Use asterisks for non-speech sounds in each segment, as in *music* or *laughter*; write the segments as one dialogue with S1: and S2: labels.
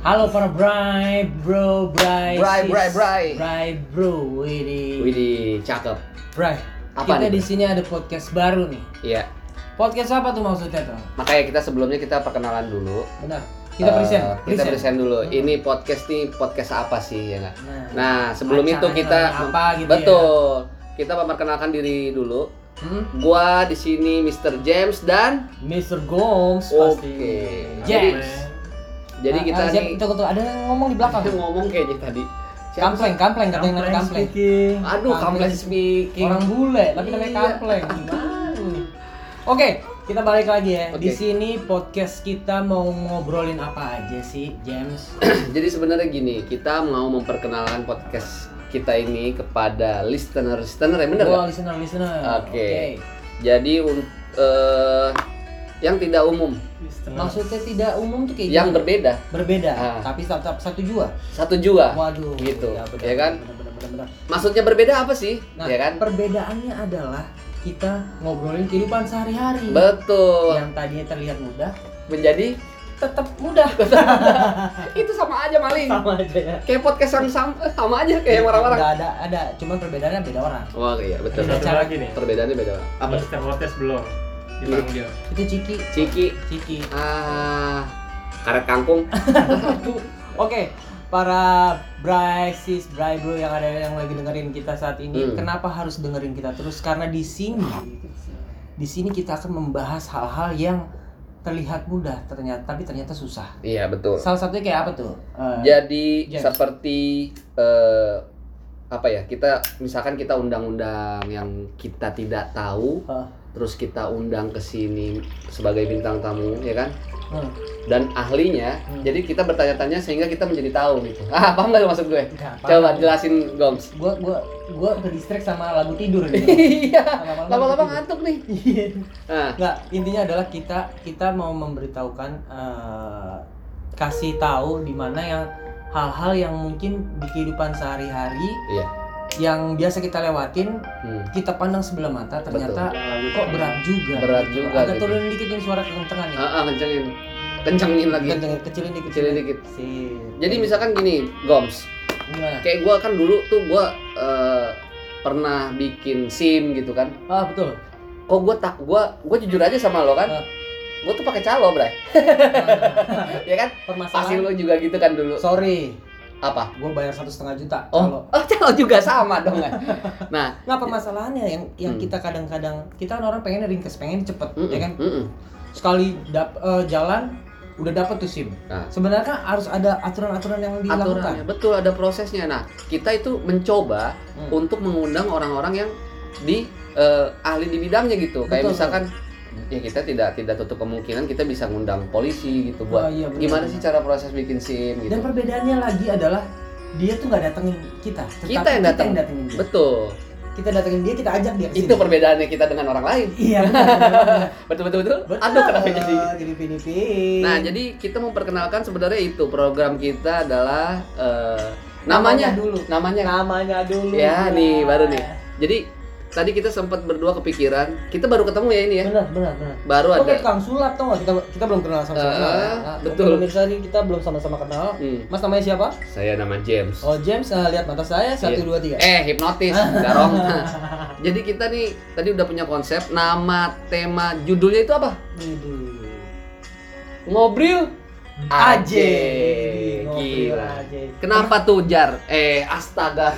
S1: Halo para Bray, bro, Bray,
S2: Bray,
S1: sis,
S2: Bray, Bray.
S1: Bray, bro, Widi.
S2: Widih, cakep.
S1: Bray,
S2: Apa
S1: kita
S2: nih,
S1: di
S2: Bray?
S1: sini ada podcast baru nih.
S2: Iya.
S1: Podcast apa tuh maksudnya tuh?
S2: Makanya kita sebelumnya kita perkenalan dulu.
S1: Benar. Kita
S2: Eh,
S1: present.
S2: kita present dulu.
S1: Hmm.
S2: Ini podcast nih podcast apa sih ya nggak?
S1: Nah,
S2: Nah, sebelum itu
S1: Acaranya
S2: kita
S1: apa gitu ya?
S2: Betul. Kita memperkenalkan diri dulu.
S1: Hmm?
S2: Gua di sini Mr. James dan
S1: Mr. Gomes
S2: Oke.
S1: pasti.
S2: Jadi-
S1: James.
S2: Oh, jadi
S1: Ah,
S2: kita
S1: ah, siap,
S2: nih
S1: Tunggu, tunggu. ada yang ngomong di belakang.
S2: Dia *laughs* ngomong kayaknya tadi. Siapa sih?
S1: Kampleng, kampleng, katanya namanya kampleng.
S3: speaking.
S2: Aduh,
S1: Kampleng.
S2: kampleng speaking. *clears throat*
S1: Orang bule, tapi namanya
S2: Iya.
S1: kampleng. Gimana nih? Oke, kita balik lagi ya. Di
S2: Oke.
S1: sini podcast kita mau ngobrolin apa aja sih, James?
S2: Jadi sebenarnya gini, kita mau memperkenalkan podcast kita ini kepada listener listener ya bener nggak?
S1: Wow, listener, listener.
S2: Oke. Jadi un- eh, yang tidak umum,
S1: Maksudnya tidak umum tuh kayak
S2: yang
S1: gimana?
S2: berbeda,
S1: berbeda,
S2: Ya. Ah.
S1: tapi tetap satu jua.
S2: satu jua.
S1: Waduh.
S2: gitu,
S1: benar,
S2: ya kan?
S1: benar, benar, benar, benar.
S2: Maksudnya berbeda apa sih?
S1: Nah,
S2: ya kan?
S1: perbedaannya adalah kita ngobrolin kehidupan sehari-hari.
S2: Betul.
S1: Yang tadinya terlihat mudah,
S2: Menjadi
S1: tetap
S2: *laughs*
S1: mudah.
S2: itu sama aja maling.
S1: Sama Iya. aja ya.
S2: Kayak podcast yang sama, eh, sama aja kayak yang orang-orang.
S1: Nggak ada, ada. Cuman perbedaannya beda orang.
S2: Wah, iya betul.
S1: Ada
S3: Satu
S1: cara-
S3: lagi nih.
S2: Perbedaannya beda. orang. Apa?
S3: Mister Hotes belum dipanggil.
S1: Itu Ciki.
S2: Ciki,
S1: Ciki.
S2: ah, karet
S1: *laughs*
S2: kangkung.
S1: Oke, para Bray, sis, Bray bro yang ada yang lagi dengerin kita saat ini,
S2: Hmm.
S1: kenapa harus dengerin kita terus? Karena di sini, di sini kita akan membahas hal-hal yang terlihat mudah, ternyata tapi ternyata susah.
S2: Iya betul.
S1: Salah satunya kayak apa tuh? Eh,
S2: Ya, Jadi
S1: Jadi.
S2: seperti eh, apa ya? Kita misalkan kita undang-undang yang kita tidak tahu,
S1: Hah.
S2: terus kita undang ke sini sebagai bintang tamu, ya kan?
S1: hmm,
S2: Dan ahlinya,
S1: Hmm.
S2: jadi kita bertanya-tanya sehingga kita menjadi tahu gitu. *laughs* Ah, paham nggak maksud gue?
S1: nggak apa-apa.
S2: Coba jelasin
S1: *laughs*
S2: Goms.
S1: Gua gua gua terdistract sama lagu tidur
S2: *laughs*
S1: gitu.
S2: Iya.
S1: Lama-lama
S2: Lama-lama
S1: tidur.
S2: ngantuk nih.
S1: Iya.
S2: Nah,
S1: Nggak, intinya adalah kita kita mau memberitahukan eh, kasih tahu di mana yang hal-hal yang mungkin di kehidupan sehari-hari
S2: iya.
S1: yang biasa kita lewatin
S2: Hmm.
S1: kita pandang sebelah mata ternyata kok berat juga
S2: Berat
S1: gitu. agak
S2: juga gitu.
S1: turunin dikit yang suara kekencengan ya
S2: Ah, ah, kencengin. Kencengin lagi.
S1: kencengin kecilin dikit
S2: Kecilin dikit.
S1: Sip.
S2: Jadi misalkan gini, Goms.
S1: gimana
S2: kayak gua kan dulu tuh gua eh, pernah bikin sim gitu kan
S1: ah betul
S2: *laughs* kok gua tak gua gua jujur aja sama lo kan
S1: Hah.
S2: gua tuh pakai calo bray
S1: Nah,
S2: ya kan pasti
S1: permasalahan
S2: lo juga gitu kan dulu
S1: sorry
S2: apa
S1: gue bayar satu setengah juta
S2: oh oh calo juga sama dong kan nah
S1: nggak permasalahannya yang yang
S2: Hmm.
S1: kita kadang-kadang kita kan orang pengen ringkes pengen cepet
S2: mm-mm,
S1: ya kan
S2: mm-mm.
S1: sekali dap, eh, jalan udah dapat tuh sim
S2: Nah. ya.
S1: sebenarnya kan harus ada aturan-aturan yang
S2: aturannya
S1: dilakukan
S2: betul ada prosesnya nah kita itu mencoba
S1: Hmm.
S2: untuk mengundang orang-orang yang di eh, ahli di bidangnya gitu kayak
S1: Betul,
S2: misalkan ya kita tidak tidak tutup kemungkinan kita bisa ngundang polisi gitu
S1: Oh,
S2: buat
S1: iya, benar.
S2: gimana sih cara proses bikin sim gitu
S1: dan perbedaannya lagi adalah dia tuh nggak datengin kita tetapi
S2: Kita yang datang.
S1: kita datengin dia
S2: Betul.
S1: kita datengin dia kita ajak dia ke
S2: Itu
S1: sini.
S2: perbedaannya kita dengan orang lain. *laughs*
S1: iya benar.
S2: Betul betul betul.
S1: Betul.
S2: Aduh kenapa jadi.
S1: jadi pilih-pilih
S2: Nah, jadi kita memperkenalkan sebenarnya itu program kita adalah eh, namanya
S1: dulu
S2: namanya.
S1: namanya dulu
S2: Ya, nih, baru nih. Jadi tadi kita sempat berdua kepikiran, kita baru ketemu ya ini ya.
S1: benar benar benar
S2: Baru
S1: Oke,
S2: ada.
S1: Kang Sulap tau gak? Kita, kita belum kenal sama-sama.
S2: ya. Eh,
S1: kenal.
S2: betul.
S1: untuk Pemirsa ini kita belum sama-sama kenal.
S2: Hmm,
S1: Mas namanya siapa?
S2: Saya nama James.
S1: Oh James, eh, lihat mata saya. Satu,
S2: Iya.
S1: dua, tiga.
S2: Eh,
S1: *laughs*
S2: hipnotis, garong. Jadi kita nih tadi udah punya konsep, nama, tema, judulnya itu apa?
S1: Aduh.
S2: Ngobril
S1: Aje.
S2: Gila. Kenapa tuh Jar? Eh, astaga.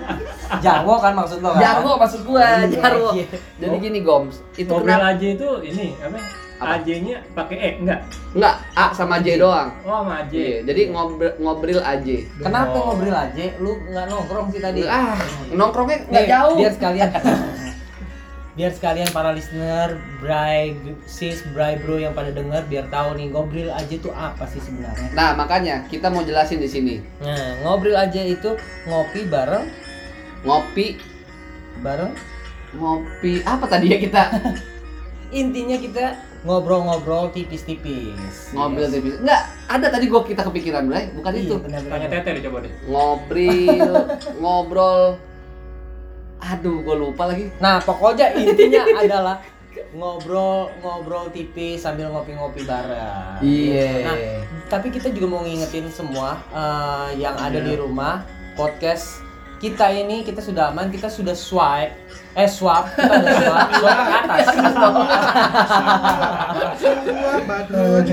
S1: *laughs* Jarwo kan maksud lo kan?
S2: Jarwo maksud gua,
S1: Iya,
S2: Jarwo.
S1: iya.
S2: Jadi gini Goms, itu
S3: Mobil
S2: kenapa?
S3: AJ itu ini apa?
S2: Apa?
S3: AJ-nya pakai E enggak?
S2: Enggak, A sama
S1: Iya.
S2: J doang.
S3: Oh, sama AJ.
S2: Iya, jadi ngobrol ngobril aja.
S1: Kenapa
S3: Oh.
S1: ngobrol aja? Lu nggak nongkrong sih tadi?
S2: Ah, nongkrongnya
S1: Nih,
S2: nggak jauh.
S1: Biar
S2: *laughs*
S1: sekalian. biar sekalian para listener, Bray, sis, Bray bro yang pada denger biar tahu nih ngobrol aja tuh apa sih sebenarnya.
S2: Nah, makanya kita mau jelasin di sini.
S1: Nah, ngobrol aja itu ngopi bareng
S2: Ngopi,
S1: bareng
S2: ngopi apa tadi ya kita?
S1: intinya kita ngobrol-ngobrol tipis-tipis
S2: Ngobrol tipis. Enggak, ada tadi gua kita kepikiran, Bray. Bukan
S1: Iya,
S2: itu.
S1: benar-benar.
S3: Tanya Tete deh coba deh.
S2: Ngobril, ngobrol. Aduh, gua lupa lagi.
S1: nah pokoknya intinya adalah ngobrol ngobrol tipis sambil ngopi-ngopi bareng
S2: Iya.
S1: Nah, tapi kita juga mau ngingetin semua eh, yang ada
S3: Iya.
S1: di rumah podcast kita ini kita sudah aman kita sudah swipe eh swap kita udah
S2: *laughs*
S1: swap swap ke atas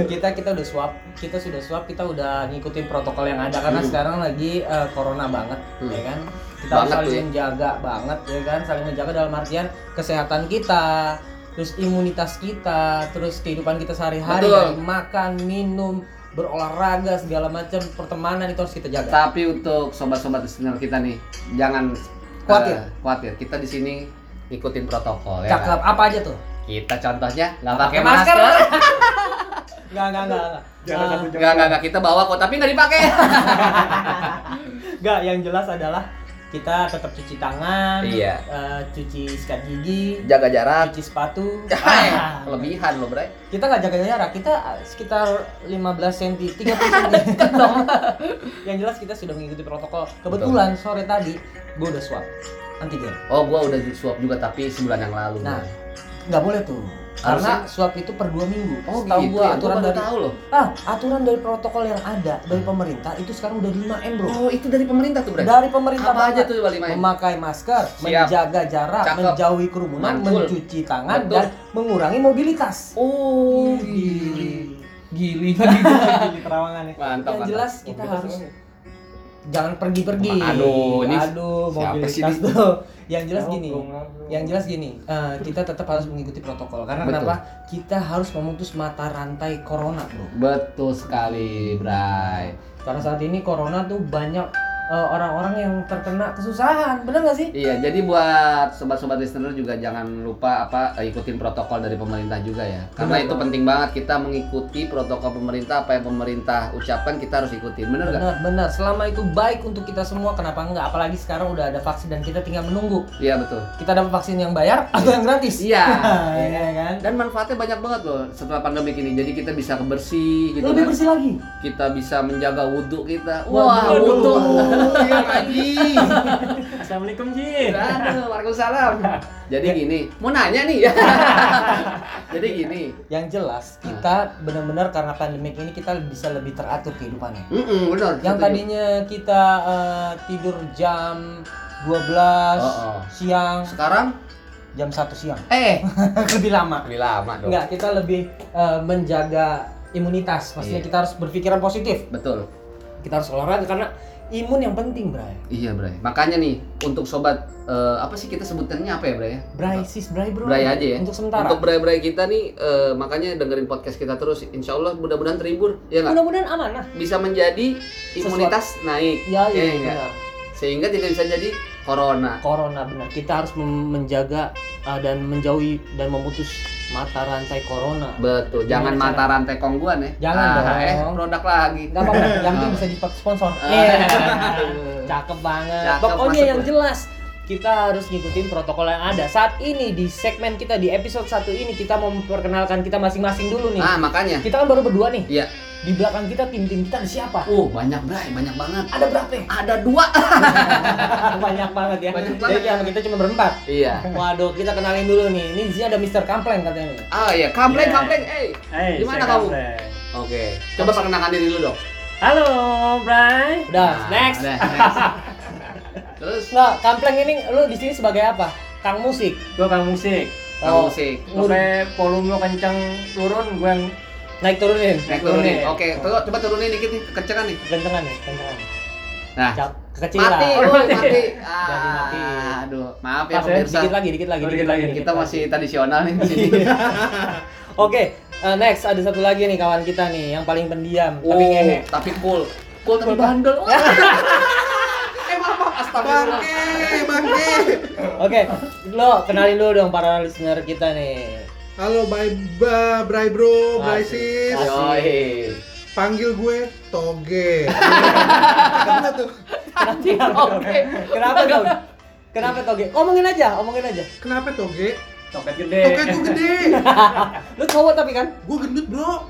S1: kita kita udah swap kita sudah swap kita udah ngikutin protokol yang ada karena
S2: Hmm.
S1: sekarang lagi eh, corona banget
S2: Hmm.
S1: ya kan kita harus
S2: Banget tuh
S1: saling jaga banget ya kan saling menjaga dalam artian kesehatan kita terus imunitas kita terus kehidupan kita sehari-hari
S2: Betul.
S1: dari makan minum berolahraga segala macam pertemanan itu harus kita jaga
S2: Tapi untuk sobat-sobat listener kita nih, jangan
S1: Khawatir.
S2: eh, khawatir. Kita di sini ngikutin protokol ya.
S1: cakep
S2: kan?
S1: apa aja tuh
S2: Kita contohnya nggak
S1: Pakai
S2: pakai
S1: masker.
S2: masker.
S1: nggak nggak nggak nggak.
S3: Jangan takut
S2: Nggak nggak nggak kita bawa kok, tapi nggak dipakai.
S1: *laughs* Nggak, yang jelas adalah kita tetap cuci tangan
S2: Iya.
S1: eh, cuci sikat gigi
S2: Jaga jarak.
S1: cuci sepatu
S2: Hai,
S1: Ah.
S2: *laughs* Kelebihan lo, Bray.
S1: kita nggak jaga jarak kita sekitar 15 cm
S2: *laughs*
S1: 30 cm yang jelas kita sudah mengikuti protokol kebetulan sore tadi gue udah swab antigen
S2: Oh, gua udah swab juga tapi sebulan yang lalu.
S1: Nah, nggak boleh tuh karena swab itu per dua minggu
S2: oh
S1: Setahu
S2: gitu.
S1: gua
S2: ya, gua
S1: aturan
S2: baru
S1: dari
S2: tahu Hmm. loh.
S1: ah aturan dari protokol yang ada dari pemerintah itu sekarang udah 5 m bro
S2: Oh, itu dari pemerintah tuh, Bray.
S1: dari pemerintah
S2: Apa aja
S1: banget.
S2: tuh Bali main?
S1: memakai masker,
S2: Siap.
S1: menjaga jarak,
S2: Cakep.
S1: menjauhi kerumunan,
S2: Mantul.
S1: mencuci tangan
S2: Betul.
S1: dan mengurangi mobilitas.
S2: Oh,
S1: Iya. Gili.
S2: *laughs* Gili.
S1: Gili terawangan ya.
S2: Mantap,
S1: Yang
S2: mantap.
S1: jelas kita harus jangan pergi-pergi.
S2: Aduh, ini
S1: Aduh,
S2: siapa
S1: mobilitas
S2: sih ini? Ya
S1: tuh. Yang jelas gini, yang jelas gini, eh, kita tetap harus mengikuti protokol karena
S2: Betul.
S1: kenapa? Kita harus memutus mata rantai corona, Bro.
S2: Betul sekali, Bray.
S1: Karena saat ini corona tuh banyak eh, orang-orang yang terkena kesusahan, bener nggak sih?
S2: Iya, jadi buat sobat-sobat listener juga jangan lupa apa eh, ikutin protokol dari pemerintah juga ya.
S1: Benar,
S2: Karena itu
S1: Bang.
S2: penting banget kita mengikuti protokol pemerintah apa yang pemerintah ucapkan kita harus ikutin. Bener nggak?
S1: Benar, benar. Selama itu baik untuk kita semua, kenapa enggak? Apalagi sekarang udah ada vaksin dan kita tinggal menunggu.
S2: Iya, betul.
S1: Kita dapat vaksin yang bayar atau yang gratis?
S2: Iya.
S1: *laughs* Iya kan?
S2: Dan manfaatnya banyak banget loh setelah pandemi ini. Jadi kita bisa kebersih gitu
S1: Lebih
S2: kan.
S1: bersih lagi.
S2: Kita bisa menjaga wudhu kita.
S1: Wah,
S2: Wah,
S1: wudhu.
S2: wudhu. Iya, Haji.
S3: Assalamualaikum Ji.
S2: Aduh, Waalaikumsalam. Jadi
S1: Ya.
S2: gini, mau nanya
S1: *laughs*
S2: nih. Jadi gini.
S1: Yang jelas, kita benar-benar karena pandemik ini kita bisa lebih teratur kehidupannya.
S2: Mm-mm, benar.
S1: Yang
S2: setuju.
S1: tadinya kita eh, tidur jam 12
S2: Oh, oh.
S1: siang,
S2: sekarang
S1: jam 1 siang. *laughs*
S2: eh
S1: lebih lama.
S2: lebih lama dong.
S1: Enggak, kita lebih eh, menjaga imunitas. Maksudnya
S2: Iya.
S1: kita harus berpikiran positif.
S2: Betul.
S1: Kita harus olahraga karena imun yang penting, Bray.
S2: Iya, Bray. Makanya nih untuk sobat eh, apa sih kita sebutannya apa ya, Bray? ya?
S1: Bray sis, Bray bro.
S2: Bray aja ya.
S1: Untuk sementara.
S2: Untuk Bray-Bray kita nih eh, makanya dengerin podcast kita terus. Insya Allah mudah-mudahan terhibur, ya nggak?
S1: Mudah-mudahan amanah.
S2: Bisa menjadi imunitas naik
S1: Ya,
S2: Iya,
S1: iya,
S2: iya.
S1: benar.
S2: sehingga tidak bisa jadi corona.
S1: Corona benar. Kita harus mem- menjaga uh, dan menjauhi dan memutus mata rantai corona.
S2: Betul. Jangan
S1: Gimana
S2: mata rantai kongguan ya.
S1: Iya, Jangan dong.
S2: Eh, produk lagi. Eh.
S1: Gak
S2: *laughs*
S1: apa-apa, yang penting bisa dipak sponsor. Iya. Cakep banget.
S2: Ah. Cakep,
S1: Pokoknya
S2: masuk
S1: yang
S2: gua.
S1: jelas kita harus ngikutin protokol yang ada. Saat ini di segmen kita di episode 1 ini kita mau memperkenalkan kita masing-masing dulu nih.
S2: Nah, makanya.
S1: Kita kan baru berdua nih.
S2: Iya.
S1: Di belakang kita tim-tim kita ada siapa?
S2: Uh, banyak Bray, banyak banget.
S1: Ada berapa? ya? *laughs*
S2: Ada dua.
S1: Banyak banget ya.
S2: Banyak banget.
S1: Jadi yang kita cuma berempat.
S2: Iya.
S1: Waduh, kita kenalin dulu nih. Ini di sini ada Mr. Kampleng katanya. nih.
S2: Oh iya, kampleng,
S3: Iya.
S2: kampleng, eh.
S3: Hey,
S2: Gimana
S3: saya
S2: kamu?
S3: Kapten.
S2: Oke, coba perkenalkan diri dulu dong.
S3: Halo, Bray.
S1: Udah, next.
S2: Nah, udah, next. Terus
S1: Nah, Kampleng ini lu di sini sebagai apa? Kang musik.
S3: Gua kang musik.
S2: oh. musik.
S1: Ngur-
S3: Sampai volume kencang turun gua yang
S1: naik turunin.
S2: Naik turunin. Oke, coba coba turunin dikit nih, kekencengan nih.
S1: Kentengan ya, kentengan.
S2: Nah,
S1: Cap, kekecilan.
S2: mati,
S1: *laughs* Oh,
S2: oh, mati.
S1: Jadi mati. eh,
S2: Ah, aduh, maaf ya
S3: Pas ya,
S2: pemirsa.
S1: dikit lagi, dikit lagi,
S3: Oh, dikit lagi.
S2: Kita masih tradisional nih di sini.
S1: Oke, eh, next ada satu lagi nih kawan kita nih yang paling pendiam, tapi
S2: Wow,
S1: ngehe.
S2: tapi cool. Cool tapi bandel. Wah. eh, maaf, maaf. Astagfirullah.
S4: bangke.
S1: *laughs* Oke, lo kenalin dulu dong para listener kita
S2: *laughs*
S1: nih.
S4: Halo, bye ba, bray bro, bray
S1: Asik.
S4: sis.
S1: Asik.
S2: Yoi.
S4: Panggil gue Toge. Kenapa tuh?
S2: Oke.
S1: Kenapa dong? Kenapa toge? Omongin aja, omongin aja.
S4: Kenapa Toge?
S3: Toket gede.
S4: Toge tuh gede.
S1: Lu cowok tapi kan?
S4: Gue gendut, Bro.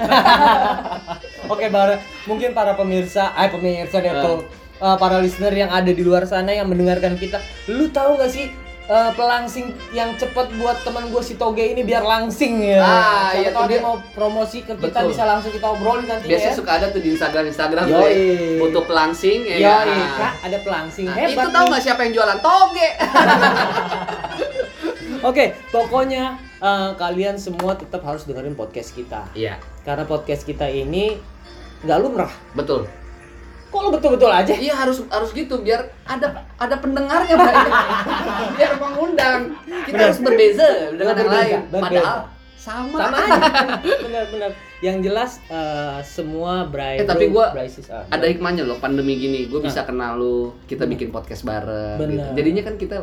S1: Oke, para mungkin para pemirsa, eh
S2: Ah.
S1: pemirsa deh tuh, eh, para listener yang ada di luar sana yang mendengarkan kita, lu tahu gak sih eh, pelangsing yang cepet buat teman gue si Toge ini biar langsing ya.
S2: Ah,
S1: Siapa
S2: iya
S1: tahu
S2: tuh
S1: dia
S2: dia.
S1: mau promosi ke kita
S2: Betul.
S1: bisa langsung kita obrolin nanti
S2: Biasanya
S1: ya.
S2: suka ada tuh di Instagram Instagram tuh
S1: Yoi.
S2: ya. Foto pelangsing ya.
S1: Yoi,
S2: Nah,
S1: Kak, ada pelangsing
S2: nah,
S1: hebat.
S2: itu tahu
S1: nih.
S2: nggak siapa yang jualan toge?
S1: Oke, pokoknya eh, kalian semua tetap harus dengerin podcast kita.
S2: Iya,
S1: Karena podcast kita ini nggak lumrah.
S2: betul.
S1: Kok lo betul-betul aja?
S2: Iya harus harus gitu biar ada ada pendengarnya
S1: *laughs*
S2: Bray. biar mengundang. Kita harus berbeza dengan yang
S1: Berbeda,
S2: lain.
S1: berbeda.
S2: Padahal sama.
S1: Sama aja. Benar-benar. Yang jelas eh, semua Bray
S2: Eh, tapi gua Ada
S1: ada
S2: hikmahnya loh pandemi gini. Gue
S1: Ah.
S2: bisa kenal lu, kita bikin podcast bareng.
S1: Bener.
S2: gitu. Jadinya kan kita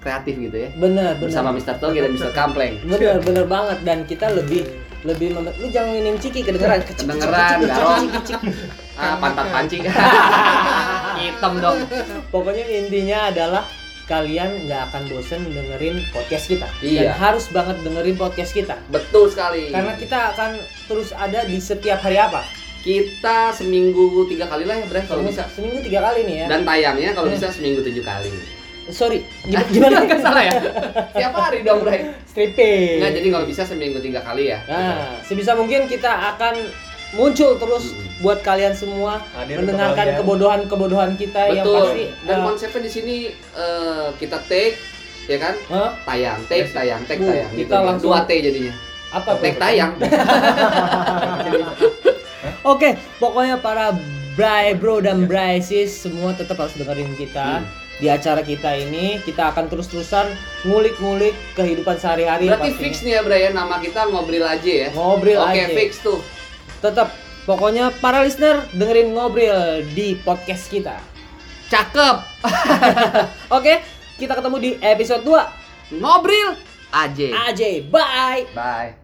S2: kreatif gitu ya.
S1: benar benar
S2: Bersama Mr. Toge dan Mr. Kampleng. *laughs*
S1: benar benar banget dan kita lebih lebih mem- lu jangan nginin ciki
S2: *laughs*
S1: kedengeran Kecik, kecik,
S2: Kedengeran,
S1: kecik, kecik,
S2: garong.
S1: kecik, kecik.
S2: Ah, pantat pancing. *laughs* Hitam dong.
S1: pokoknya intinya adalah kalian nggak akan bosen dengerin podcast kita
S2: Iya.
S1: dan harus banget dengerin podcast kita
S2: Betul sekali.
S1: karena kita akan terus ada di setiap hari apa
S2: kita seminggu tiga kali lah ya Bray kalau bisa. Nah.
S1: seminggu tiga kali nih Oh. ya
S2: Dan tayangnya kalau bisa seminggu tujuh kali.
S1: sorry gim-
S2: *laughs*
S1: gimana
S2: Kan salah ya? Tiap hari dong Bray.
S1: stripping
S2: Nggak, jadi kalau bisa seminggu tiga kali ya.
S1: nah sebisa mungkin kita akan muncul terus
S2: Mm-mm.
S1: buat kalian semua
S3: Hadir untuk
S1: mendengarkan
S3: kalian.
S1: kebodohan-kebodohan kita yang
S2: Betul.
S1: pasti
S2: Dan
S1: eh,
S2: konsepnya di sini eh, kita take, ya kan?
S1: Hah?
S2: Tayang, take, tayang, take,
S1: Bu,
S2: tayang.
S1: kita
S2: Gitu.
S1: langsung-
S2: Dua T jadinya.
S1: apa tuh?
S2: Take tayang.
S1: Oke, pokoknya para Bray Bro dan Bray Sis semua tetap harus dengerin kita.
S2: Iya. Hmm.
S1: Di acara kita ini kita akan terus-terusan ngulik-ngulik kehidupan sehari-hari
S2: Berarti
S1: pastinya.
S2: fix nih ya Bray ya, nama kita ngobrol aja ya.
S1: ngobrol
S2: Oke,
S1: aja.
S2: fix tuh.
S1: Tetap pokoknya para listener dengerin ngobrol di podcast kita.
S2: Cakep.
S1: Oke, kita ketemu di episode 2.
S2: Ngobrol aja.
S1: AJ, bye.
S2: Bye.